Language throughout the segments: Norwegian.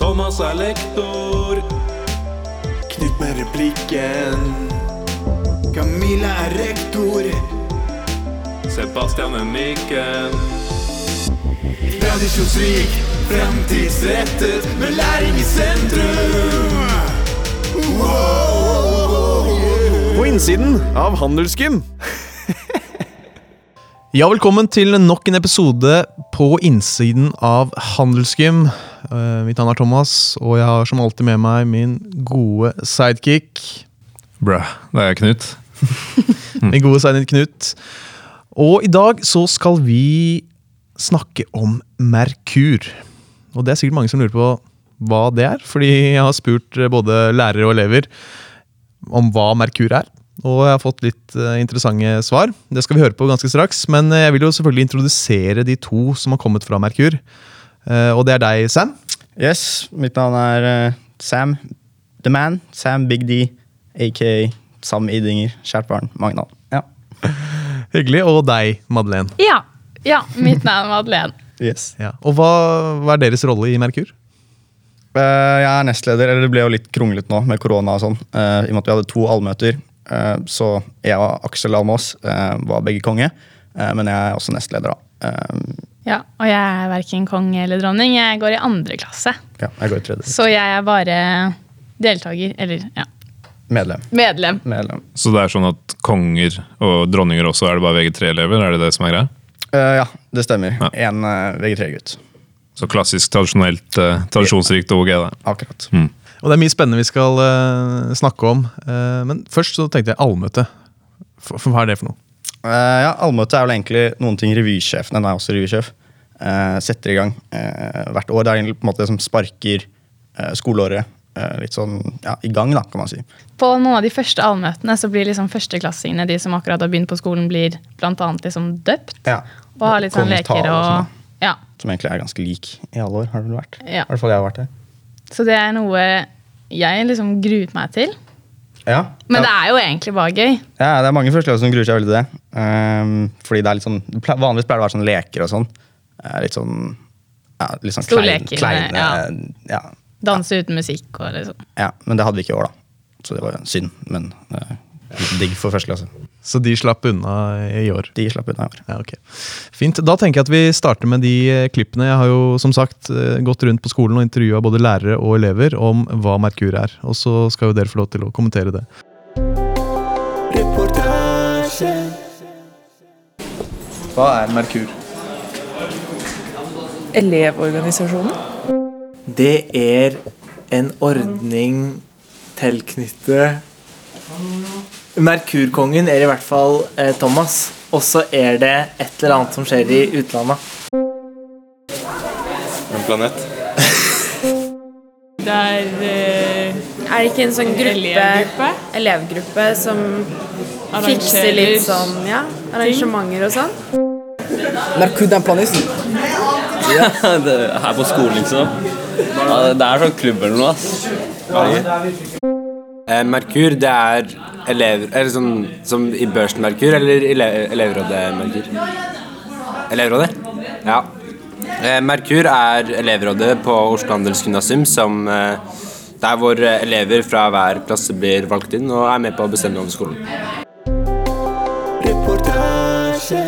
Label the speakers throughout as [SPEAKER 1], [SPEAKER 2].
[SPEAKER 1] Thomas er lektor. Knut med replikken. Camilla er rektor. Sebastian er mikken. Tradisjonsrik, fremtidsrettet, med læring i sentrum.
[SPEAKER 2] På innsiden av Handelsgym.
[SPEAKER 3] Ja, velkommen til nok en episode på innsiden av Handelsgym. Eh, mitt navn er Thomas, og jeg har som alltid med meg min gode sidekick.
[SPEAKER 4] Bruh, det er Knut.
[SPEAKER 3] Min gode sidekick Knut. Og i dag så skal vi snakke om Merkur. Og det er sikkert mange som lurer på hva det er, fordi jeg har spurt eh, både lærere og elever om hva Merkur er. Og jeg har fått litt eh, interessante svar. Det skal vi høre på ganske straks. Men eh, jeg vil jo selvfølgelig introdusere de to som har kommet fra Merkur. Eh, og det er deg, Sam.
[SPEAKER 5] Yes, mitt navn er eh, Sam The Man. Sam Big D, aka Sam Idinger. Kjært barn, mange navn. Ja.
[SPEAKER 3] Hyggelig. Og deg, Madeleine.
[SPEAKER 6] Ja. ja mitt navn er Madeleine.
[SPEAKER 5] Yes.
[SPEAKER 3] Ja. Og hva, hva er deres rolle i Merkur?
[SPEAKER 5] Eh, jeg er nestleder, eller det ble jo litt kronglete nå med korona og sånn. eh, I og med at vi hadde to allmøter. eh, så jeg og Aksel Almås eh, var begge konge, eh, men jeg er også nestleder, da. Eh,
[SPEAKER 6] Ja, og jeg er verken konge eller dronning. Jeg går i andre klasse.
[SPEAKER 5] ja, jeg går i tredje.
[SPEAKER 6] Så jeg er bare deltaker, eller ja,
[SPEAKER 5] Medlem.
[SPEAKER 6] medlem.
[SPEAKER 5] Medlem.
[SPEAKER 4] Så det er sånn at konger og dronninger også, er det bare VG3-elever? Er det det som er greia?
[SPEAKER 5] Eh, ja, det stemmer.
[SPEAKER 4] Ja.
[SPEAKER 5] En eh, VG3-gutt.
[SPEAKER 4] Så klassisk, tradisjonelt, eh, tradisjonsrikt OG, det.
[SPEAKER 5] Akkurat.
[SPEAKER 3] Og det er mye spennende vi skal eh, snakke om. Eh, men først så tenkte jeg allmøte. For, for hva er det for noe?
[SPEAKER 5] Eh, ja, Allmøte er vel egentlig noen ting revysjefen, den er også revysjef, eh, setter i gang eh, hvert år. Det er egentlig på en måte det som sparker eh, skoleåret eh, litt sånn ja, i gang, da, kan man si.
[SPEAKER 6] På noen av de første allmøtene så blir liksom førsteklassingene, de som akkurat har begynt på skolen, blir blant annet liksom døpt. Og har litt sånn
[SPEAKER 5] Kongens
[SPEAKER 6] leker
[SPEAKER 5] tale og sånn,
[SPEAKER 6] og Ja.
[SPEAKER 5] Som egentlig er ganske lik i alle år, har det vel vært?
[SPEAKER 6] Ja.
[SPEAKER 5] I hvert fall jeg har vært det.
[SPEAKER 6] Så det er noe jeg liksom gruet meg til.
[SPEAKER 5] Ja.
[SPEAKER 6] Men
[SPEAKER 5] ja.
[SPEAKER 6] det er jo egentlig bare gøy.
[SPEAKER 5] Ja, det er mange førsteklasser som gruer seg veldig til det. Ehm, fordi det er litt sånn, det ple- Vanligvis pleier det å være sånn leker og sånn. Eh, Litt sånn, ja, litt sånn klein,
[SPEAKER 6] Storleker,
[SPEAKER 5] kleine
[SPEAKER 6] ja.
[SPEAKER 5] Ja.
[SPEAKER 6] Danse uten musikk og liksom.
[SPEAKER 5] ja, Men det hadde vi ikke i år, da. Så det var synd, men eh, digg for første klasse.
[SPEAKER 3] Så de slapp unna i år.
[SPEAKER 5] De slapp unna i år.
[SPEAKER 3] Ja, ok. Fint. Da tenker jeg at vi starter med de eh, klippene. Jeg har jo som sagt eh, gått rundt på skolen og intervjua både lærere og elever om hva Merkur er. Og så skal jo dere få lov til å kommentere det.
[SPEAKER 1] Reportasje.
[SPEAKER 3] Hva er Merkur?
[SPEAKER 7] Elevorganisasjonen?
[SPEAKER 8] Det er en ordning tilknyttet Merkurkongen er i hvert fall eh, Thomas. Og så er det et eller annet som skjer i utlandet.
[SPEAKER 1] En planet.
[SPEAKER 9] Det er
[SPEAKER 10] Er det ikke en sånn gruppe,
[SPEAKER 9] elevgruppe.
[SPEAKER 10] elevgruppe som fikser
[SPEAKER 9] Arrangerer
[SPEAKER 10] litt sånn ja, arrangementer og sånn?
[SPEAKER 7] Merkur den planeten.
[SPEAKER 8] Her på skolen, liksom. det er sånn klubb eller noe.
[SPEAKER 11] Eh, Merkur, det er elever Eller sånn som i Børsen Merkur, eller ele elevrådet Merkur? Elevrådet? Ja. Eh, Merkur er elevrådet på Oslo Handelsgymnasium som eh, der hvor eh, elever fra hver klasse blir valgt inn og er med på å bestemme over skolen.
[SPEAKER 1] Reportasje.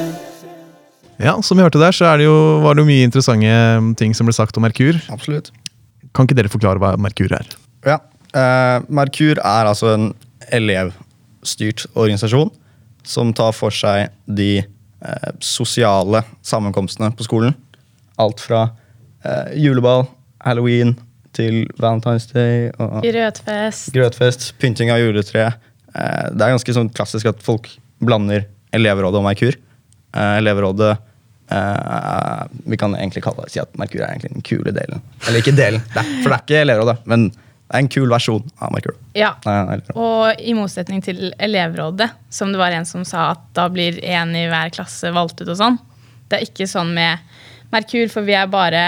[SPEAKER 3] Ja, som vi hørte der, så er det jo, var det jo mye interessante ting som ble sagt om Merkur.
[SPEAKER 5] Absolutt.
[SPEAKER 3] Kan ikke dere forklare hva Merkur er?
[SPEAKER 5] Ja. eh, Merkur er altså en elevstyrt organisasjon som tar for seg de eh, sosiale sammenkomstene på skolen. Alt fra eh, juleball, halloween til Valentine's Day og
[SPEAKER 6] Grøtfest.
[SPEAKER 5] grøtfest, pynting av juletre. Eh, det er ganske sånn klassisk at folk blander elevrådet og Merkur. Eh, elevrådet eh, Vi kan egentlig kalle det, si at Merkur er egentlig den kule delen. Eller ikke delen, det er, for det er ikke elevrådet, men det er en kul versjon av Merkur.
[SPEAKER 6] Ja.
[SPEAKER 5] Nei, nei, elevrådet.
[SPEAKER 6] Og i motsetning til elevrådet, som det var en som sa at da blir én i hver klasse valgt ut og sånn. Det er ikke sånn med Merkur, for vi er bare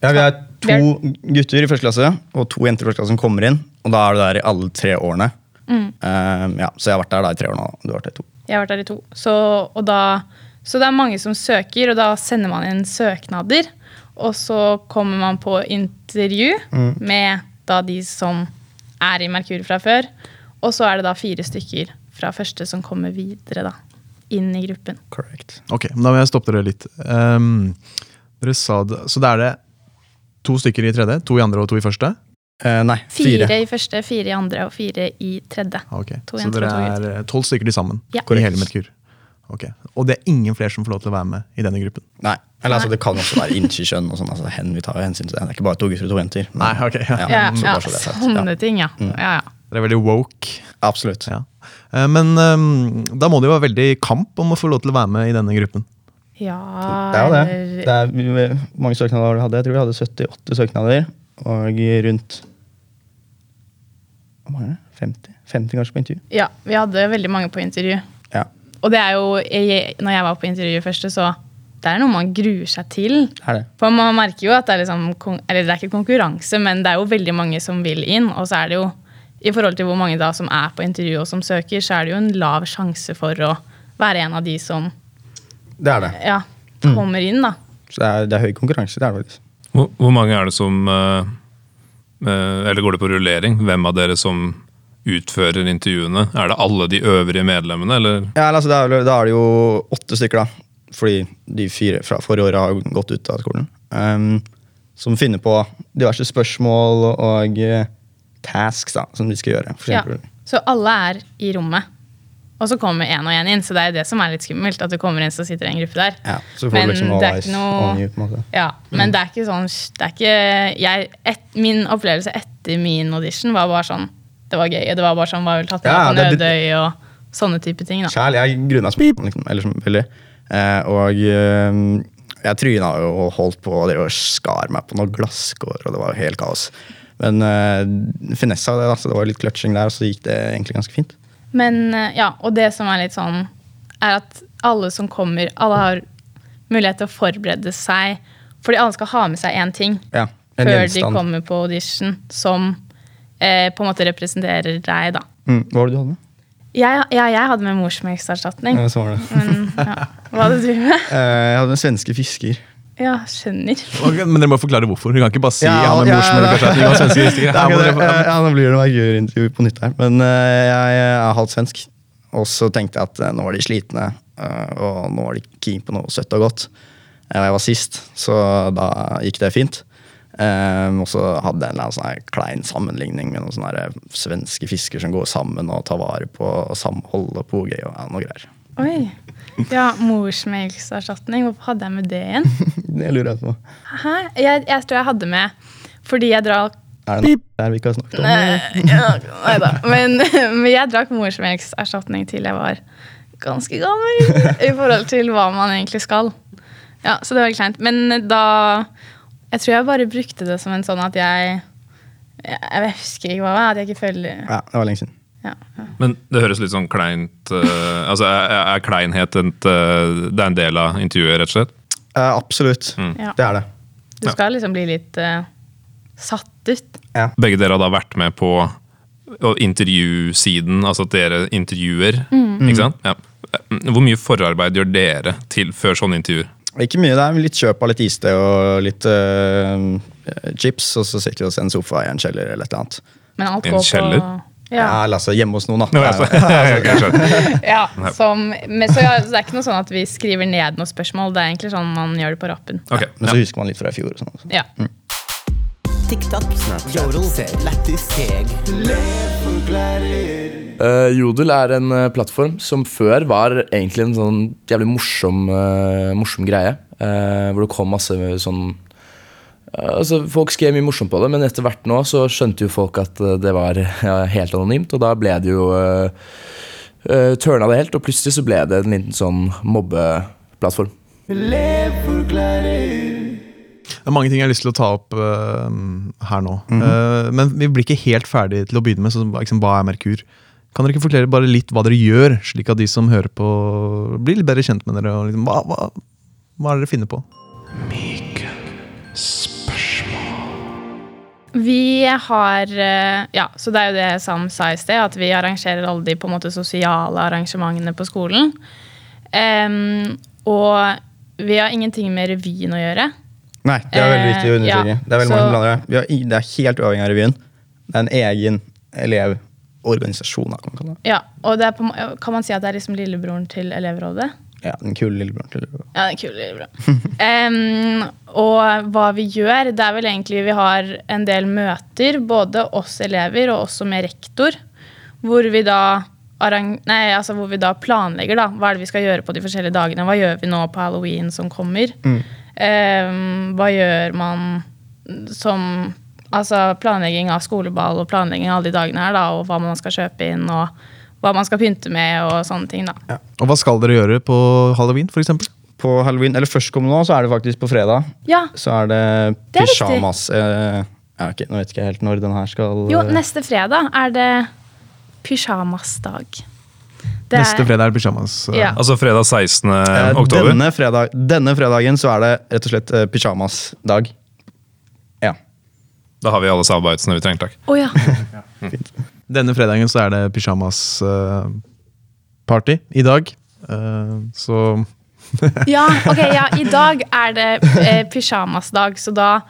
[SPEAKER 5] Ja, vi er
[SPEAKER 6] Vi er-
[SPEAKER 5] to gutter i første klasse og to jenter i første klasse som kommer inn. Og da er du der i alle tre årene.
[SPEAKER 6] Mm.
[SPEAKER 5] Eh, ja, så jeg har vært der da i tre år nå. da. Du har vært der i to.
[SPEAKER 6] Jeg har vært der i to. Så, og da, så det er mange som søker, og da sender man inn søknader. Og så kommer man på intervju
[SPEAKER 5] Mm.
[SPEAKER 6] med da de som er i Merkur fra før. Og så er det da fire stykker fra første som kommer videre da, inn i gruppen.
[SPEAKER 5] Correct.
[SPEAKER 3] Ok, men da må jeg stoppe dere litt. Ehm, dere sa det, så da er det to stykker i tredje, to i andre og to i første?
[SPEAKER 5] Eh, nei,
[SPEAKER 6] Fire,
[SPEAKER 5] fire.
[SPEAKER 6] i første, fire i andre og fire i tredje.
[SPEAKER 3] Ah, Ok,
[SPEAKER 6] To
[SPEAKER 3] Så
[SPEAKER 6] jenter
[SPEAKER 3] dere
[SPEAKER 6] og to
[SPEAKER 3] er eh, tolv stykker til sammen?
[SPEAKER 6] Ja.
[SPEAKER 3] I hele Merkur. Ok, Og det er ingen flere som får lov til å være med i denne gruppen?
[SPEAKER 5] Nei. Eller altså, det kan også være innkjønn og sånn. Altså, hen, vi tar jo hensyn til det. Det er ikke bare to gutter og to jenter. men-
[SPEAKER 3] Nei, ok. Ja.
[SPEAKER 5] Ja, sånn
[SPEAKER 6] Ja,
[SPEAKER 5] så
[SPEAKER 6] ja,
[SPEAKER 5] bare så det er sagt, ja. Mm.
[SPEAKER 6] sånne ting, ja. ja, ja.
[SPEAKER 3] Dere er veldig woke.
[SPEAKER 5] Absolutt.
[SPEAKER 3] Ja. Eh, Men ehm, da må det jo være veldig kamp om å få lov til å være med i denne gruppen.
[SPEAKER 6] Ja,
[SPEAKER 5] Det er jo det.
[SPEAKER 6] eller-
[SPEAKER 5] det er, vi- vi- mange søknader var det vi hadde. Jeg tror vi hadde 78 søknader. Og rundt Hvor mange er det? 50? 50 kanskje på intervju?
[SPEAKER 6] Ja, vi hadde veldig mange på intervju.
[SPEAKER 5] Ja.
[SPEAKER 6] Og det er jo, jeg, når jeg var på intervjuet først, så det er noe man gruer seg til.
[SPEAKER 5] Det er det.
[SPEAKER 6] For man merker jo at det er liksom, kon- eller det er ikke konkurranse, men det er jo veldig mange som vil inn, og så er det jo, i forhold til hvor mange da som er på intervju og som søker, så er det jo en lav sjanse for å være en av de som
[SPEAKER 5] Det er det.
[SPEAKER 6] ja,
[SPEAKER 5] Mm.
[SPEAKER 6] kommer inn da.
[SPEAKER 5] Så det er, det er høy konkurranse. Det er det faktisk.
[SPEAKER 4] Hvor, hvor mange er det som eh, eh, Eller går det på rullering? Hvem av dere som utfører intervjuene? Er det alle de øvrige medlemmene, eller?
[SPEAKER 5] Ja, eller altså, det er, vel- da er det jo åtte stykker, da. Fordi de fire fra forrige året har gått ut av skolen. Ehm, som finner på diverse spørsmål og eh, tasks da, som de skal gjøre. For
[SPEAKER 6] Ja.
[SPEAKER 5] eksempel.
[SPEAKER 6] Så alle er i rommet. Og så kommer én og én inn, så det er jo det som er litt skummelt. At det kommer en som sitter i en gruppe der.
[SPEAKER 5] Ja, så får du liksom all eyes on you, på en måte. Mm.
[SPEAKER 6] Ja, men det er ikke sånn det er ikke, jeg, et, Min opplevelse etter min audition var bare sånn Det var gøy. Det var bare sånn, var vel tatt med
[SPEAKER 5] Ja,
[SPEAKER 6] på
[SPEAKER 5] det-
[SPEAKER 6] Nødøy og sånne type ting. da.
[SPEAKER 5] Kjæl, jeg gruer meg som liksom, eller som veldig. Eh, og ehm, jeg tryna jo og holdt på og det var skar meg på noen glasskår, og det var jo helt kaos. Men eh, finessa det, da, så det var litt clutching der, og så gikk det egentlig ganske fint.
[SPEAKER 6] Men eh, ja, og det som er litt sånn, er at alle som kommer, alle har mulighet til å forberede seg. Fordi alle skal ha med seg én ting
[SPEAKER 5] Ja, en
[SPEAKER 6] før de
[SPEAKER 5] gjenstand.
[SPEAKER 6] kommer på audition, som eh, på en måte representerer deg, da.
[SPEAKER 5] Mm, hva var det du hadde med?
[SPEAKER 6] Jeg, ja, jeg hadde med morsmelkerstatning.
[SPEAKER 5] Ja, så var det.
[SPEAKER 6] Men ja, hva hadde du med?
[SPEAKER 5] Eh, jeg hadde med svenske fisker.
[SPEAKER 6] Ja, skjønner.
[SPEAKER 3] Ok, Men dere må forklare hvorfor. Dere kan ikke bare si ja, med
[SPEAKER 5] ja,
[SPEAKER 3] morsmelkerstatning og svenske historier.
[SPEAKER 5] Nei,
[SPEAKER 3] Her må
[SPEAKER 5] det,
[SPEAKER 3] dere-
[SPEAKER 5] eh, ja, nå blir det Merkur-intervju på nytt her. Men eh, jeg er halvt svensk. Og så tenkte jeg at eh, nå var de slitne, eh, og nå var de keen på noe søtt og godt. Eh, Og jeg var sist, så da gikk det fint. Eh, og så hadde jeg en eller annen sånn her klein sammenligning med noen sånne her eh, svenske fisker som går sammen og tar vare på samhold og pogøy og ja, noe greier.
[SPEAKER 6] Oi. Ja, morsmelkerstatning. Hvorfor hadde jeg med det igjen?
[SPEAKER 5] Det lurer jeg på.
[SPEAKER 6] Hæ? Jeg, jeg tror jeg hadde med fordi jeg drakk
[SPEAKER 5] Er det noe der vi ikke har snakket om?
[SPEAKER 6] Eh, Nei da. Men, men jeg drakk morsmelkerstatning til jeg var ganske gammel. I forhold til hva man egentlig skal. Ja, Så det var litt kleint. Men da Jeg tror jeg bare brukte det som en sånn at jeg Jeg, jeg husker ikke hva det var. At jeg ikke føler
[SPEAKER 5] Ja, det var lenge siden.
[SPEAKER 6] ja.
[SPEAKER 4] Men det høres litt sånn kleint eh, Altså, er, er kleinhet et, eh, Det er en del av intervjuet, rett og slett?
[SPEAKER 5] Eh, absolutt.
[SPEAKER 6] Ja.
[SPEAKER 5] Det er det.
[SPEAKER 6] Du skal liksom bli litt eh, satt ut.
[SPEAKER 4] Begge dere har da vært med på å- intervjusiden, altså at dere intervjuer. Ikke sant? Ja. Hvor mye forarbeid gjør dere til før sånne intervjuer?
[SPEAKER 5] Ikke mye. Det er litt kjøp av litt iste og litt øh, chips, og så sitter vi oss i en sofa i en kjeller eller et eller annet.
[SPEAKER 6] Men alt
[SPEAKER 4] En
[SPEAKER 6] går
[SPEAKER 4] kjeller?
[SPEAKER 6] på
[SPEAKER 5] Ja.
[SPEAKER 6] ja.
[SPEAKER 5] eller altså hjemme hos noen, da.
[SPEAKER 4] Ja, altså, jeg skjønner.
[SPEAKER 6] Ja, som, men, så, ja, så det er ikke noe sånn at vi skriver ned noen spørsmål. Det er egentlig sånn man gjør det på rappen.
[SPEAKER 4] Ok,
[SPEAKER 5] Men
[SPEAKER 4] ja.
[SPEAKER 5] så husker man litt fra i fjor. og sånn. også.
[SPEAKER 6] Ja.
[SPEAKER 9] Eh, Jodel er en eh, plattform som før var egentlig en sånn jævlig morsom, eh, morsom greie. eh, hvor det kom masse sånn eh, Altså Folk skrev mye morsomt på det, men etter hvert nå så skjønte jo folk at eh, det var ja, helt anonymt, og da ble det jo uh, turna det helt, og plutselig så ble det en liten sånn mobbeplattform.
[SPEAKER 3] Det er mange ting jeg har lyst til å ta opp eh, her nå. Eh, men vi blir ikke helt ferdig til å begynne med. Så, liksom, hva er Merkur? Kan dere ikke forklare bare litt hva dere gjør, slik at de som hører på, blir litt bedre kjent med dere? Og liksom, hva, hva, hva er det dere finner på?
[SPEAKER 6] Vi har eh, Ja, så det er jo det Sam sa i sted, at vi arrangerer alle de på en måte sosiale arrangementene på skolen. Em, og vi har ingenting med revyen å gjøre.
[SPEAKER 5] Nei, det er veldig
[SPEAKER 6] Eh,
[SPEAKER 5] viktig å understreke.
[SPEAKER 6] ja,
[SPEAKER 5] Det er veldig mange
[SPEAKER 6] så-
[SPEAKER 5] som blander det. Vi har, i- det er helt uavhengig av revyen. Det er en egen elevorganisasjon. da, kan man kalle det.
[SPEAKER 6] Ja, og det er på, ma- kan man si at det er liksom lillebroren til elevrådet?
[SPEAKER 5] Ja, den kule lillebroren til elevrådet.
[SPEAKER 6] Ja, det er kul lillebror. Em, og hva vi gjør, det er vel egentlig vi har en del møter, både oss elever og også med rektor, hvor vi da, arrang nei, altså hvor vi da planlegger da, hva er det vi skal gjøre på de forskjellige dagene, hva gjør vi nå på Halloween som kommer, Em, hva gjør man som altså planlegging av skoleball og planlegging av alle de dagene her da, og hva man skal kjøpe inn og hva man skal pynte med og sånne ting da.
[SPEAKER 3] Og hva skal dere gjøre på halloween, for eksempel?
[SPEAKER 5] På halloween, eller førstkommende nå, så er det faktisk på fredag.
[SPEAKER 6] Ja.
[SPEAKER 5] Så er det
[SPEAKER 6] Det er riktig.
[SPEAKER 5] pyjamas eh, ja, ok, Nå vet ikke jeg helt når den her skal
[SPEAKER 6] Jo,
[SPEAKER 5] eh,
[SPEAKER 6] neste fredag er det pysjamasdag. Det
[SPEAKER 3] Neste fredag er det pyjamas. eh,
[SPEAKER 6] Ja.
[SPEAKER 4] Altså fredag 16.
[SPEAKER 5] eh,
[SPEAKER 4] oktober.
[SPEAKER 5] Denne, fredag, denne fredagen så er det rett og slett eh, pyjamasdag. Ja.
[SPEAKER 4] Da har vi alle samarbeidene vi trenger. takk.
[SPEAKER 6] Å ja.
[SPEAKER 3] Denne fredagen så er det pyjamas-party i dag. Eh, så
[SPEAKER 6] ja. Ok, ja, i dag er det eh, pysjamasdag, så da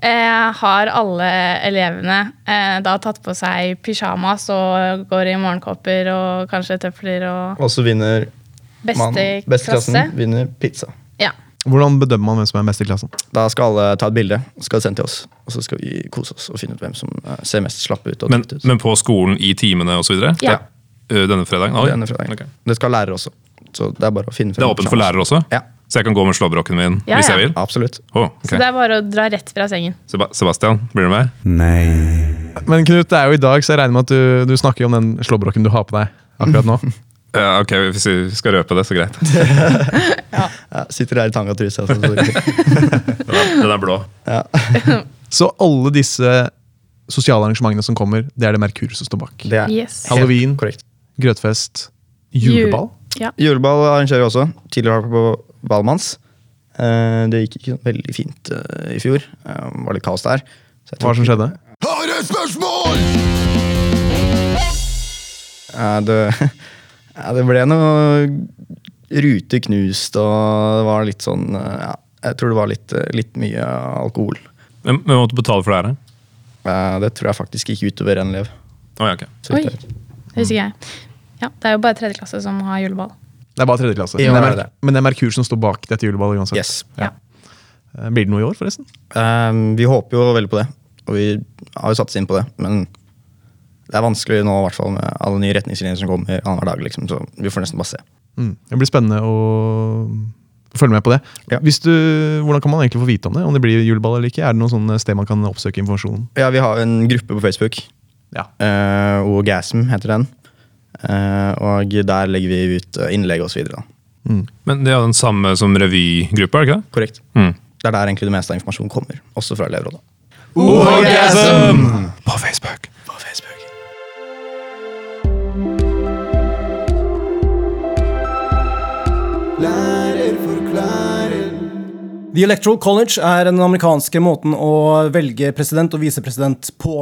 [SPEAKER 6] eh, har alle elevene eh, da tatt på seg pysjamas og går i morgenkåper og kanskje tøfler og
[SPEAKER 5] Og så vinner man-
[SPEAKER 6] beste,
[SPEAKER 5] besteklassen
[SPEAKER 6] klasse.
[SPEAKER 5] vinner pizza.
[SPEAKER 6] Ja.
[SPEAKER 3] hvordan bedømmer man hvem som er best i klassen?
[SPEAKER 5] Da skal alle ta et bilde, så skal det sendt til oss. Og så skal vi kose oss og finne ut hvem som eh, ser mest slapp ut. Og
[SPEAKER 4] Men,
[SPEAKER 5] dritt ut.
[SPEAKER 4] men på skolen, i timene osv.?
[SPEAKER 6] Ja.
[SPEAKER 4] Denne fredagen? Oi.
[SPEAKER 5] Denne fredagen. Det skal lærere også. Så det er bare å finne
[SPEAKER 4] Det er åpent for lærere også?
[SPEAKER 5] Ja.
[SPEAKER 4] Så jeg kan gå med slåbroken min
[SPEAKER 6] Ja,
[SPEAKER 4] hvis
[SPEAKER 6] ja.
[SPEAKER 4] jeg vil?
[SPEAKER 5] Absolutt.
[SPEAKER 4] Å, ok.
[SPEAKER 6] Så det er bare å dra rett fra sengen.
[SPEAKER 4] Seba- Sebastian, blir du med?
[SPEAKER 3] Men Knut, det er jo i dag, så jeg regner med at du, du snakker om den slåbroken du har på deg akkurat nå.
[SPEAKER 4] Ja, Eh, ok, hvis vi skal røpe det, så greit.
[SPEAKER 5] Jeg sitter her i tanga truse. Altså, så-
[SPEAKER 4] Den er, den er blå.
[SPEAKER 3] Så alle disse sosiale arrangementene som kommer, det er det Merkur som står bak.
[SPEAKER 5] det er
[SPEAKER 6] Yes.
[SPEAKER 3] Halloween,
[SPEAKER 5] korrekt.
[SPEAKER 3] grøtfest, juleball.
[SPEAKER 6] Ja.
[SPEAKER 5] Juleball arrangerer vi også. Tidligere på Valmanns. Eh, Det gikk ikke sånn veldig fint eh, i fjor. Eh, Det var litt kaos der. Så jeg
[SPEAKER 3] Hva
[SPEAKER 5] tror
[SPEAKER 3] er det som skjedde?
[SPEAKER 5] Eh, det, ja, det ble noe ruter knust, og det var litt sånn eh, ja, Jeg tror det var litt, eh, litt mye alkohol.
[SPEAKER 4] Hvem hvem måtte betale for det her? da?
[SPEAKER 5] Eh, Det tror jeg faktisk gikk utover en elev.
[SPEAKER 4] Å, ja, ok.
[SPEAKER 5] så vidt jeg
[SPEAKER 6] Oi.
[SPEAKER 5] vet.
[SPEAKER 6] Det husker jeg. Ja, det er jo bare tredje klasse som har juleball.
[SPEAKER 3] Det er bare tredje klasse.
[SPEAKER 5] I
[SPEAKER 3] Men det
[SPEAKER 5] år
[SPEAKER 3] er,
[SPEAKER 5] er
[SPEAKER 3] Merk-
[SPEAKER 5] det.
[SPEAKER 3] men det er Merkur som står bak dette juleballet uansett.
[SPEAKER 5] Yes.
[SPEAKER 3] Eh, Blir det noe i år, forresten?
[SPEAKER 5] Ehm, vi håper jo veldig på det, og vi har jo satset inn på det. Men det er vanskelig nå, i hvert fall med alle nye retningslinjer som kommer annenhver dag. liksom, Så vi får nesten bare se.
[SPEAKER 3] Mm. Det blir spennende å følge med på det.
[SPEAKER 5] Ja.
[SPEAKER 3] Hvis du, hvordan kan man egentlig få vite om det? Om det blir juleball eller ikke? Er det noe sånn sted man kan oppsøke informasjon?
[SPEAKER 5] Ja, Vi har jo en gruppe på Facebook,
[SPEAKER 3] Ja.
[SPEAKER 5] eh, OGASM heter den. Eh, og der legger vi ut eh, innlegg og så videre. da.
[SPEAKER 4] Men det er jo den samme som revygruppa, er det ikke det?
[SPEAKER 5] Korrekt.
[SPEAKER 4] Mm.
[SPEAKER 5] Det er der egentlig det meste av informasjonen kommer, også fra elevrådet.
[SPEAKER 4] På Facebook.
[SPEAKER 5] På Facebook.
[SPEAKER 12] The Electoral College er den amerikanske måten å velge president og visepresident på.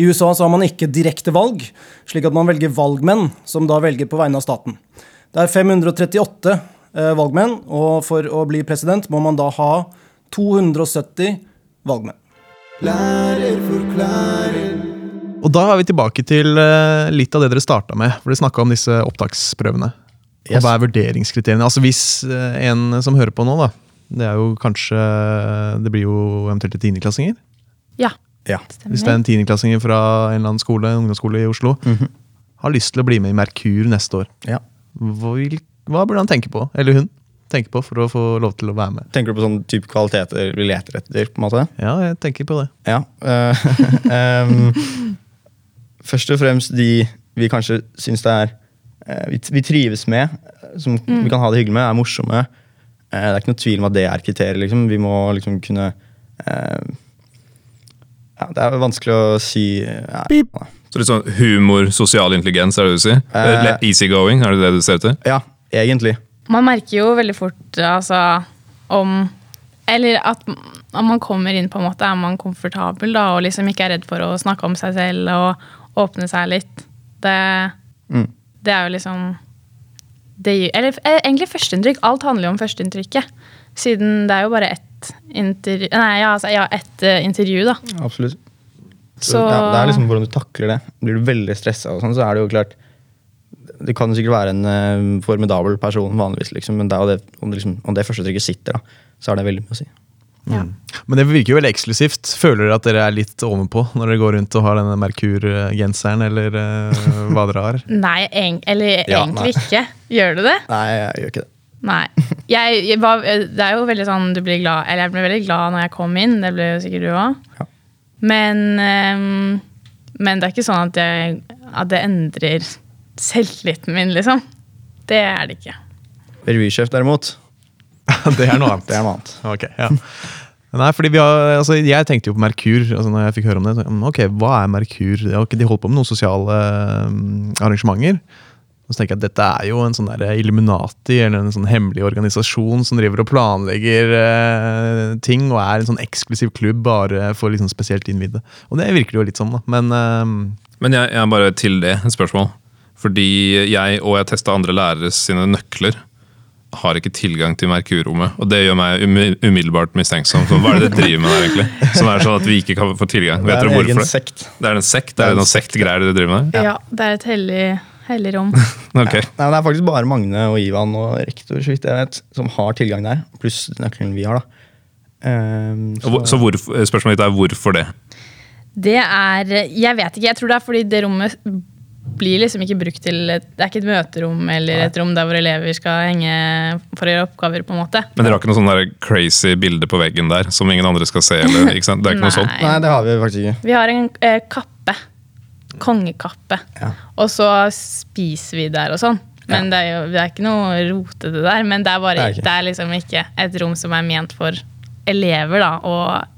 [SPEAKER 12] I USA så har man ikke direkte valg, slik at man velger valgmenn, som da velger på vegne av staten. Det er 538 eh, valgmenn, og for å bli president må man da ha 270 valgmenn.
[SPEAKER 3] Og da er vi tilbake til eh, litt av det dere starta med. For dere snakka om disse opptaksprøvene. Og
[SPEAKER 5] Yes.
[SPEAKER 3] hva er vurderingskriteriene? Altså Hvis eh, en som hører på nå, da det er jo kanskje eh, Det blir jo eventuelt tiendeklassinger.
[SPEAKER 6] Ja,
[SPEAKER 5] Ja.
[SPEAKER 3] Hvis det er en tiendeklassinger fra en eller annen skole, en ungdomsskole i Oslo, har lyst til å bli med i Merkur neste år,
[SPEAKER 5] ja.
[SPEAKER 3] hva, vil, hva burde han tenke på? Eller hun? Tenke på for å få lov til å være med.
[SPEAKER 5] Tenker du på sånne type kvaliteter vi leter etter? på en måte?
[SPEAKER 3] Ja, jeg tenker på det.
[SPEAKER 5] Ja. eh, em, først og fremst de vi kanskje syns det er eh, vi, vi trives med, eh, som vi kan ha det hyggelig med, er morsomme. Eh, det er ikke noe tvil om at det er kriteriet. Liksom. Vi må liksom kunne eh, ja, Det er vanskelig å si eh, ja.
[SPEAKER 4] Så litt sånn humor, sosial intelligens, er det det du sier?
[SPEAKER 5] Eh.
[SPEAKER 4] Lett easygoing, er det det du ser etter?
[SPEAKER 5] ja, egentlig.
[SPEAKER 6] Man merker jo veldig fort altså, om Eller at m- om man kommer inn, på en måte, er man komfortabel da, og liksom ikke er redd for å snakke om seg selv og åpne seg litt. Det,
[SPEAKER 5] Mm.
[SPEAKER 6] det er jo liksom det, gir- Eller eh, egentlig førsteinntrykk. Alt handler jo om førsteinntrykket. Siden det er jo bare ett ett intervju Nei, ja, altså, ja, ett eh, intervju, da.
[SPEAKER 5] Absolutt. Så,
[SPEAKER 6] Så-
[SPEAKER 5] ja, det er liksom hvordan du takler det. Blir du veldig stressa, og sånn, så er det jo klart Du kan sikkert være en eh, formidabel person vanligvis, liksom, men det er jo det, om, det liksom, om det første trykket sitter, da, så er det veldig mye å si.
[SPEAKER 3] Men det virker jo veldig eksklusivt. Føler dere at dere er litt ovenpå når dere går rundt og har denne Merkur-genseren, eller eh, hva dere har?
[SPEAKER 6] Nei, eng eller
[SPEAKER 3] Ja,
[SPEAKER 6] egentlig
[SPEAKER 3] nei.
[SPEAKER 6] ikke. Gjør du det?
[SPEAKER 5] Nei, jeg gjør ikke det.
[SPEAKER 6] Nei. Jeg, jeg var, det er jo veldig sånn du blir glad Eller jeg ble veldig glad når jeg kom inn, det ble jo sikkert du òg. Men, ehm, men det er ikke sånn at, jeg, at det endrer selvtilliten min, liksom. Det er det ikke.
[SPEAKER 5] Revysjef, derimot
[SPEAKER 3] Det er noe annet.
[SPEAKER 5] Det er noe annet.
[SPEAKER 3] Ok, ja. Nei, fordi vi har, altså, Jeg tenkte jo på Merkur altså, når jeg fikk høre om det. Så, mm, ok, Hva er Merkur? Ja, ok, De holder på med noen sosiale mm, arrangementer. Og så tenker jeg at Dette er jo en sånn der Illuminati, eller en sånn hemmelig organisasjon som driver og planlegger eh, ting, og er en sånn eksklusiv klubb bare for liksom spesielt innvidde. Og det virker det jo litt sånn, da. Men eh,
[SPEAKER 4] Men jeg, jeg har bare til det et spørsmål. Fordi jeg og jeg testa andre lærere sine nøkler. Har ikke tilgang til Merkur-rommet. Og det gjør meg umi- umiddelbart mistenksom. Så hva er det dere driver med der, egentlig? Som er sånn at vi ikke kan få tilgang.
[SPEAKER 5] Det er
[SPEAKER 4] Vet dere
[SPEAKER 5] en egen
[SPEAKER 4] hvorfor det?
[SPEAKER 5] sekt.
[SPEAKER 4] Det er en sekt? Er det noen sektgreier dere driver med?
[SPEAKER 6] Ja, det er et hellig, hellig rom.
[SPEAKER 4] Ok.
[SPEAKER 5] Nei, men Det er faktisk bare Magne og Ivan og rektor så vidt jeg vet, som har tilgang der. Pluss nøkkelen vi har. da. Ehm,
[SPEAKER 4] Og hvor- Så hvorfor, spørsmålet mitt er hvorfor det?
[SPEAKER 6] Det er Jeg vet ikke. Jeg tror det er fordi det rommet blir liksom ikke brukt til et, Det er ikke et møterom eller et rom der hvor elever skal henge for å gjøre oppgaver, på en måte.
[SPEAKER 4] Men dere har ikke noe sånn der crazy bilde på veggen der som ingen andre skal se? Eller, ikke sant? Det er ikke noe sånt?
[SPEAKER 6] Nei,
[SPEAKER 5] det har vi faktisk ikke.
[SPEAKER 6] Vi har en eh, kappe. Kongekappe. Og så spiser vi der og sånn. Men det, er jo, det er ikke noe rotete der. Men det er, bare,
[SPEAKER 5] Det
[SPEAKER 6] det,
[SPEAKER 5] er
[SPEAKER 6] er
[SPEAKER 5] ikke.
[SPEAKER 6] liksom ikke et rom som er ment for elever da, og eh,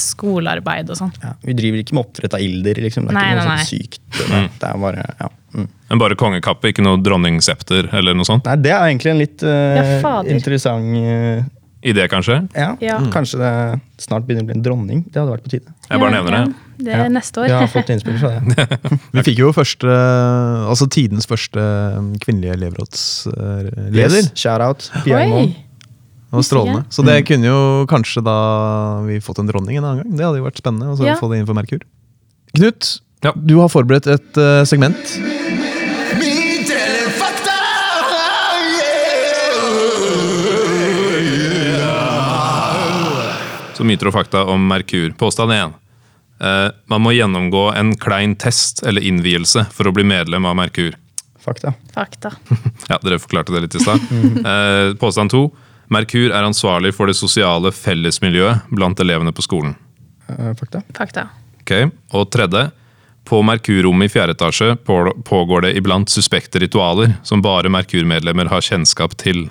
[SPEAKER 6] skolearbeid og sånn.
[SPEAKER 5] Vi driver ikke med oppdrett av ilder, liksom. Det er
[SPEAKER 6] Nei,
[SPEAKER 5] ikke noe
[SPEAKER 6] nei,
[SPEAKER 5] sånt sykt. Det det er bare, ja. Mm.
[SPEAKER 4] Men bare kongekappe, ikke noe dronningsepter eller noe sånt?
[SPEAKER 5] Nei, det er egentlig en litt eh,
[SPEAKER 6] Ja, fader.
[SPEAKER 5] interessant eh,
[SPEAKER 4] Idé, kanskje?
[SPEAKER 5] ja.
[SPEAKER 6] Ja. Mm.
[SPEAKER 5] Kanskje det snart begynner å bli en dronning. Det hadde vært på tide.
[SPEAKER 4] Jeg bare nevner det.
[SPEAKER 6] Det er neste år.
[SPEAKER 5] Jeg har fått innspill fra det.
[SPEAKER 3] Vi fikk jo første, altså tidens første um, kvinnelige elevrådsleder.
[SPEAKER 5] Yes, Shout-out. Pia
[SPEAKER 6] Oi.
[SPEAKER 5] Moen.
[SPEAKER 3] Det var strålende. Så
[SPEAKER 4] Mm.
[SPEAKER 3] det kunne jo kanskje da vi fått en dronning en annen gang. Det hadde jo vært spennende. Og så
[SPEAKER 6] Ja.
[SPEAKER 3] få det inn for Merkur. Knut, du har forberedt et eh, segment.
[SPEAKER 1] Myter eller fakta?
[SPEAKER 4] Så myter og fakta om Merkur. Påstand 1. man må gjennomgå en klein test eller innvielse for å bli medlem av Merkur.
[SPEAKER 5] Fakta.
[SPEAKER 6] Fakta.
[SPEAKER 4] Ja, Dere forklarte det litt i stad. Eh, påstand 2. Merkur er ansvarlig for det sosiale fellesmiljøet blant elevene på skolen.
[SPEAKER 5] Eh, fakta.
[SPEAKER 6] Fakta.
[SPEAKER 4] Ok, Og tredje. På Merkur-rommet i fjerde etasje på- pågår det iblant suspekte ritualer som bare Merkur-medlemmer har kjennskap til.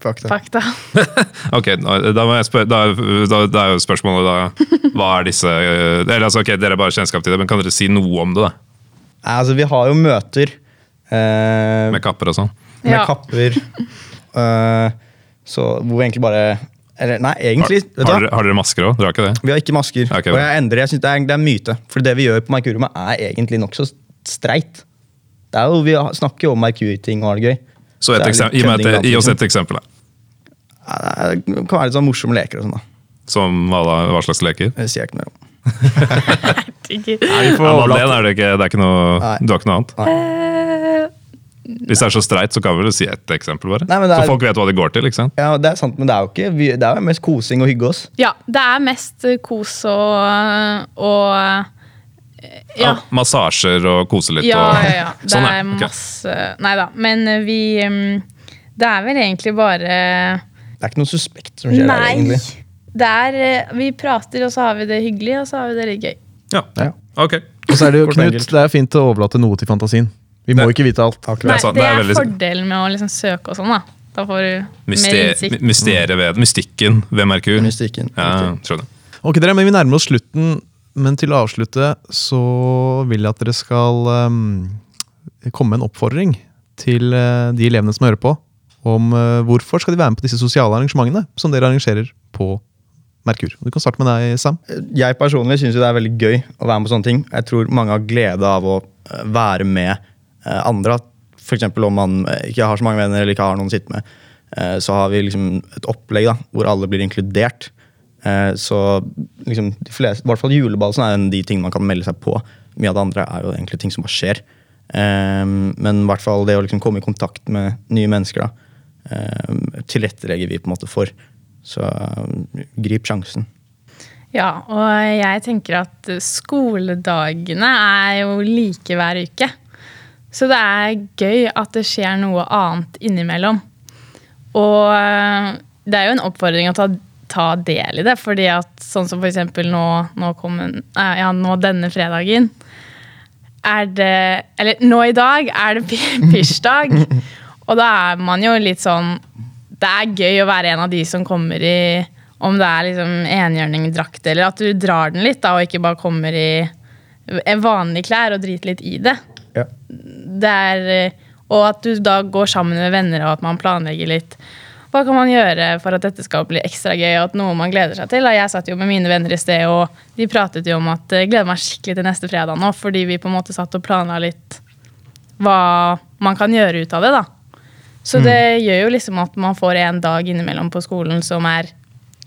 [SPEAKER 5] Fakta.
[SPEAKER 6] Fakta.
[SPEAKER 4] Ok, da, da, må jeg spør, da, da, da er jo spørsmålet da Hva er disse eh, Eller altså, ok, Dere har bare kjennskap til det, men kan dere si noe om det? da?
[SPEAKER 5] Nei, altså, vi har jo møter. eh,
[SPEAKER 4] Med kapper og sånn?
[SPEAKER 5] med
[SPEAKER 4] Ja.
[SPEAKER 5] kapper. eh, så hvor egentlig bare eller, Nei, egentlig. vet du
[SPEAKER 4] Har,
[SPEAKER 5] hva?
[SPEAKER 4] har, dere, har dere masker òg? Dere har ikke det?
[SPEAKER 5] Vi har ikke masker.
[SPEAKER 4] Ok,
[SPEAKER 5] og
[SPEAKER 4] bra.
[SPEAKER 5] jeg endrer, jeg synes det, er, det er myte. For det vi gjør på Merkuriumet, er egentlig nokså streit. Det er jo, vi har- snakker jo om Merkur-ting og har det gøy.
[SPEAKER 4] Så et
[SPEAKER 5] det er litt
[SPEAKER 4] eksem- gi, meg
[SPEAKER 5] kødding
[SPEAKER 4] et, gi oss
[SPEAKER 5] iblant,
[SPEAKER 4] et eksempel, da.
[SPEAKER 5] liksom. Ja, Det kan være litt sånn morsomme leker og sånn. da.
[SPEAKER 4] Som hva, da, hva slags leker?
[SPEAKER 5] Det sier jeg ikke mer om.
[SPEAKER 4] Nei,
[SPEAKER 5] vi får
[SPEAKER 4] det, er det, ikke, det er ikke noe, Du har ikke noe annet?
[SPEAKER 6] Eh,
[SPEAKER 4] Hvis det er så streit, så kan vi vel si et eksempel, bare?
[SPEAKER 5] Nei, men det er-
[SPEAKER 4] Så folk vet hva det går til? ikke sant?
[SPEAKER 5] Ja, Det er sant, men det er jo ikke, vi, det er jo mest kosing og hygge oss.
[SPEAKER 6] ja, det er mest eh, kos og, og eh, ja.
[SPEAKER 4] Ah, massasjer og kose litt?
[SPEAKER 6] Ja,
[SPEAKER 4] og,
[SPEAKER 6] ja, ja. Det
[SPEAKER 4] Sånn,
[SPEAKER 6] er
[SPEAKER 4] ok.
[SPEAKER 6] masse Nei da. Men eh, vi mm, Det er vel egentlig bare
[SPEAKER 5] Det er ikke noe suspekt som skjer her,
[SPEAKER 6] Nei.
[SPEAKER 5] egentlig.
[SPEAKER 6] det er, eh, Vi prater, og så har vi det hyggelig, og så har vi det litt gøy.
[SPEAKER 4] Ja. Ok.
[SPEAKER 3] Og så er det jo
[SPEAKER 4] Kort og
[SPEAKER 3] Knut,
[SPEAKER 4] enkelt.
[SPEAKER 3] det er fint å overlate noe til fantasien. Vi må ikke vite alt.
[SPEAKER 6] Nei, det er, fordelen med å liksom søke og sånn, da. Da får du mer
[SPEAKER 4] Myster,
[SPEAKER 6] innsikt.
[SPEAKER 4] mysteriet ved Mystikken ved Merkur?
[SPEAKER 5] Mystikken.
[SPEAKER 4] Ja, skjønner.
[SPEAKER 3] Ok, dere, men Vi nærmer oss slutten, men til å avslutte så vil jeg at dere skal eh, komme med en oppfordring til eh, de elevene som hører på, om eh, hvorfor skal de være med på disse sosiale arrangementene som dere arrangerer på Merkur. Du kan starte med deg, Sam.
[SPEAKER 5] jeg personlig syns det er veldig gøy å være med på sånne ting. Jeg tror mange har glede av å eh, være med eh, andre. F.eks. om man eh, ikke har så mange venner eller ikke har noen å sitte med. eh, Så har vi liksom et opplegg da, hvor alle blir inkludert. Eh, Så liksom, de fleste, i hvert fall juleballsen er en av de tingene man kan melde seg på. Mye av det andre er jo egentlig ting som bare skjer. Ehm, Men i hvert fall det å liksom komme i kontakt med nye mennesker, da, ehm, tilrettelegger vi på en måte for. Så ehm, grip sjansen.
[SPEAKER 6] Ja, og jeg tenker at skoledagene er jo like hver uke. Så det er gøy at det skjer noe annet innimellom. Og eh, det er jo en oppfordring å ta, ta del i det, fordi at sånn som f.eks. Nå, nå, kom en- eh, ja, nå denne fredagen er det Eller nå i dag er det pi- pysjdag. Og da er man jo litt sånn Det er gøy å være en av de som kommer i Om det er liksom enhjørningdrakt, eller at du drar den litt, da, og ikke bare kommer i en vanlige klær og driter litt i det.
[SPEAKER 5] Ja.
[SPEAKER 6] det er, eh, og at du da går sammen med venner, og at man planlegger litt. Hva kan man gjøre for at dette skal bli ekstra gøy? og at noe man gleder seg til? Da Jeg satt jo med mine venner i sted, og de pratet jo om at jeg gleder meg skikkelig til neste fredag nå, fordi vi på en måte satt og planla litt hva man kan gjøre ut av det. da. Så
[SPEAKER 13] Mm.
[SPEAKER 6] det gjør jo liksom at man får en dag innimellom på skolen som er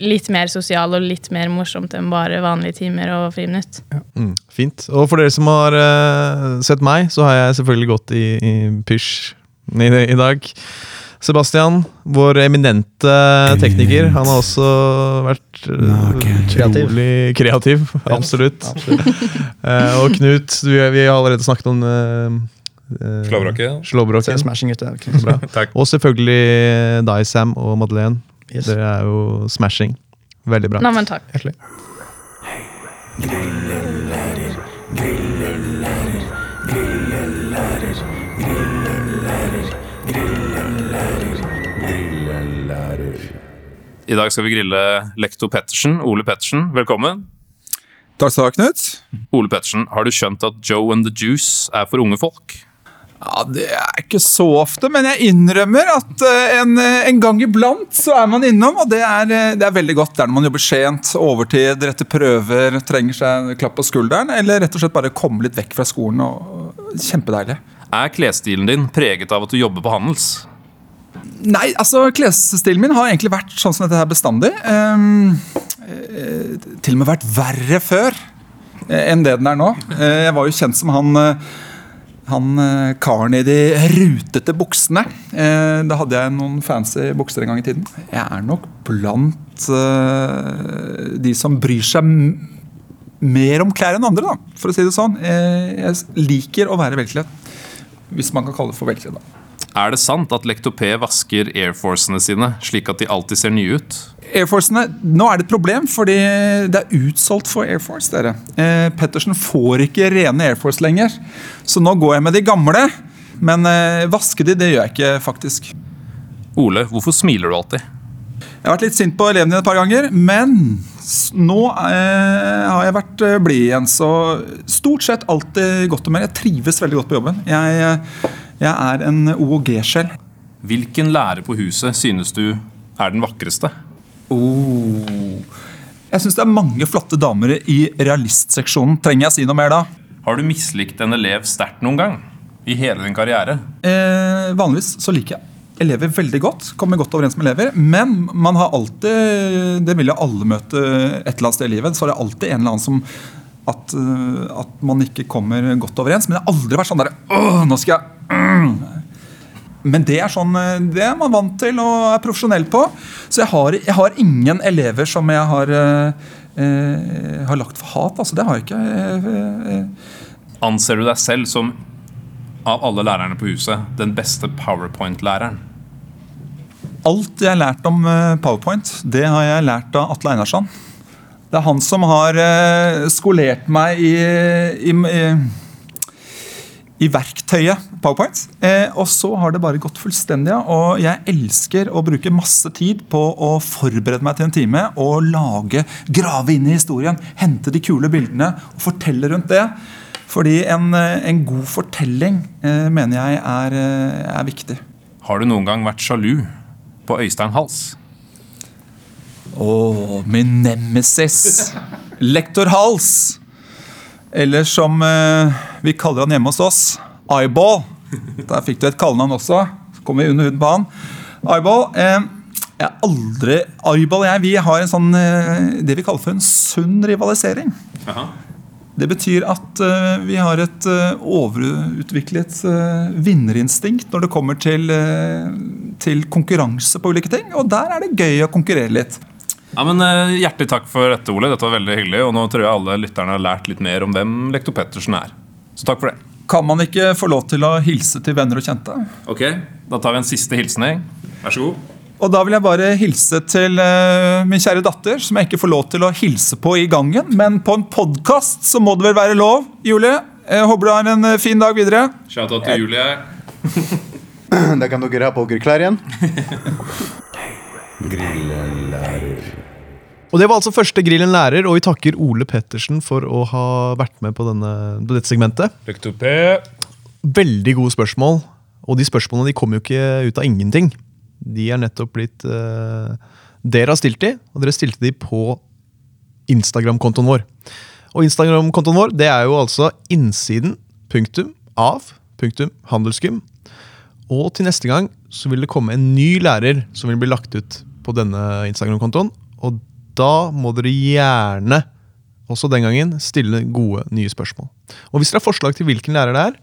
[SPEAKER 6] litt mer sosial og litt mer morsomt enn bare vanlige timer og friminutt.
[SPEAKER 3] Mm, fint. Og for dere som har eh, sett meg, så har jeg selvfølgelig gått i, i pysj i, i dag. Sebastian, vår eminente tekniker, han har også vært eh, utrolig kreativ. Absolutt. Eh, og Knut, du, vi har allerede snakket om eh, eh,
[SPEAKER 4] Slåbroken.
[SPEAKER 3] slåbroken.
[SPEAKER 5] Se smashing ute.
[SPEAKER 3] Bra. Og selvfølgelig eh, deg, Sam og Madeleine. Dere er jo smashing. Veldig bra.
[SPEAKER 6] Nei, men takk.
[SPEAKER 3] Hjertelig.
[SPEAKER 4] I dag skal vi grille Lektor Pettersen. Ole Pettersen, velkommen.
[SPEAKER 14] Takk skal du ha, Knut.
[SPEAKER 4] Ole Pettersen, har du skjønt at Joe and the Juice er for unge folk?
[SPEAKER 14] Ja, Det er ikke så ofte, men jeg innrømmer at eh, en, en gang iblant så er man innom, og det er, eh, det er veldig godt. Det er når man jobber sent, overtid, rette prøver, trenger seg en klapp på skulderen, eller rett og slett bare komme litt vekk fra skolen. og og Kjempedeilig.
[SPEAKER 4] Er klesstilen din preget av at du jobber på Handels?
[SPEAKER 14] Nei, altså klesstilen min har egentlig vært sånn som dette her bestandig. Ehm, eh, til og med vært verre før eh, enn det den er nå. Eh, jeg var jo kjent som han, eh, han eh, karen i de rutete buksene. Eh, da hadde jeg noen fancy bukser en gang i tiden. Jeg er nok blant eh, de som bryr seg m mer om klær enn andre, da, for å si det sånn. Eh, jeg s- liker å være velkledd. Hvis man kan kalle det for velkledd. da.
[SPEAKER 4] Er det sant at Lektor P vasker airforcene sine slik at de alltid ser nye ut?
[SPEAKER 14] Airforcene, Nå er det et problem, fordi det er utsolgt for Air Force. dere. Eh, Pettersen får ikke rene Air Force lenger, så nå går jeg med de gamle. Men eh, vaske de, det gjør jeg ikke, faktisk.
[SPEAKER 4] Ole, hvorfor smiler du alltid?
[SPEAKER 14] Jeg har vært litt sint på elevene dine et par ganger, men s- nå eh, har jeg vært eh, blid igjen. Så stort sett alltid godt humør. Jeg trives veldig godt på jobben. Jeg, eh, jeg er en OOG-sjel.
[SPEAKER 4] Hvilken lærer på huset synes du er den vakreste?
[SPEAKER 14] Oh. Jeg syns det er mange flotte damer i realistseksjonen. Trenger jeg si noe mer da?
[SPEAKER 4] Har du mislikt en elev sterkt noen gang? I hele din karriere?
[SPEAKER 14] Eh, vanligvis så liker jeg elever veldig godt. Kommer godt overens med elever. Men man har alltid Det vil jo alle møte et eller annet sted i livet. Så er det alltid en eller annen som at, eh, at man ikke kommer godt overens. Men det har aldri vært sånn derre Åh, nå skal jeg mm. Men det er sånn eh, Det er man vant til og er profesjonell på. Så jeg har, jeg har ingen elever som jeg har eh, eh, har lagt for hat, altså. Det har jeg ikke. Eh, eh,
[SPEAKER 4] Anser du deg selv som, av alle lærerne på huset, den beste powerpoint-læreren?
[SPEAKER 14] Alt jeg har lært om eh, Powerpoint, det har jeg lært av Atle Einarsson. Det er han som har eh, skolert meg i, i, i, i verktøyet Powerpoint. Eh, Og så har det bare gått fullstendig av. Og jeg elsker å bruke masse tid på å forberede meg til en time og lage, grave inn i historien, hente de kule bildene og fortelle rundt det. Fordi en, eh, en god fortelling eh, mener jeg er, eh, er viktig.
[SPEAKER 4] Har du noen gang vært sjalu på Øystein Hals?
[SPEAKER 14] Å, min nemesis. Lektor Hals. Eller som eh, vi kaller han hjemme hos oss, Eyeball. Der fikk du et kallenavn også. Så kom vi under huden på han. Eyeball. Eh, Jeg har aldri Aybal og jeg vi har en sånn, eh, det vi kaller for en sunn rivalisering. Det betyr at eh, vi har et eh, overutviklet eh, vinnerinstinkt når det kommer til, eh, til konkurranse på ulike ting. Og der er det gøy å konkurrere litt.
[SPEAKER 4] Ja, men eh, Hjertelig takk for dette, Ole. Dette var veldig hyggelig. Og nå tror jeg alle lytterne har lært litt mer om hvem Lektor Pettersen er. Så takk for det.
[SPEAKER 14] Kan man ikke få lov til å hilse til venner og kjente?
[SPEAKER 4] Ok, Da tar vi en siste hilsning. Vær så god.
[SPEAKER 14] Og da vil jeg bare hilse til eh, min kjære datter, som jeg ikke får lov til å hilse på i gangen. Men på en podkast så må det vel være lov, Julie. Jeg håper du har en eh, fin dag videre.
[SPEAKER 4] Shout-out til Julie.
[SPEAKER 13] Da kan dere ha pokerklær igjen.
[SPEAKER 3] Og Det var altså første Grillen lærer, og vi takker Ole Pettersen for å ha vært med på, denne, på dette segmentet.
[SPEAKER 4] Lektor P.
[SPEAKER 3] Veldig gode spørsmål, og de spørsmålene de kom jo ikke ut av ingenting. De er nettopp blitt eh, Dere har stilt de, og dere stilte de på Instagram-kontoen vår. Og Instagram-kontoen vår det er jo altså innsiden punktum av punktum handelsgym. Og til neste gang så vil det komme en ny lærer som vil bli lagt ut på denne Instagram-kontoen. Og da må dere gjerne også den gangen stille gode, nye spørsmål. Og hvis dere har forslag til hvilken lærer det er,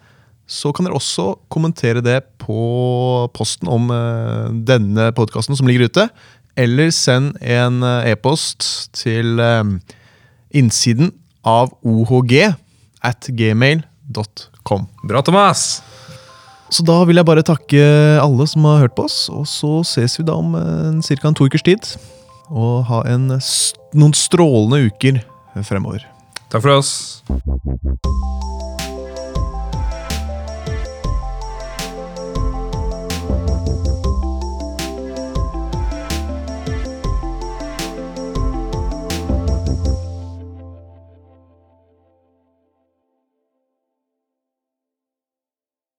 [SPEAKER 3] så kan dere også kommentere det på posten om eh, denne podkasten som ligger ute. Eller send en eh, e-post til eh, innsiden av ohg at gmail.com.
[SPEAKER 4] Bra, Thomas!
[SPEAKER 3] Så da vil jeg bare takke alle som har hørt på oss, og så ses vi da om ca. en to ukers tid. Og ha en, s- noen strålende uker fremover.
[SPEAKER 4] Takk for oss.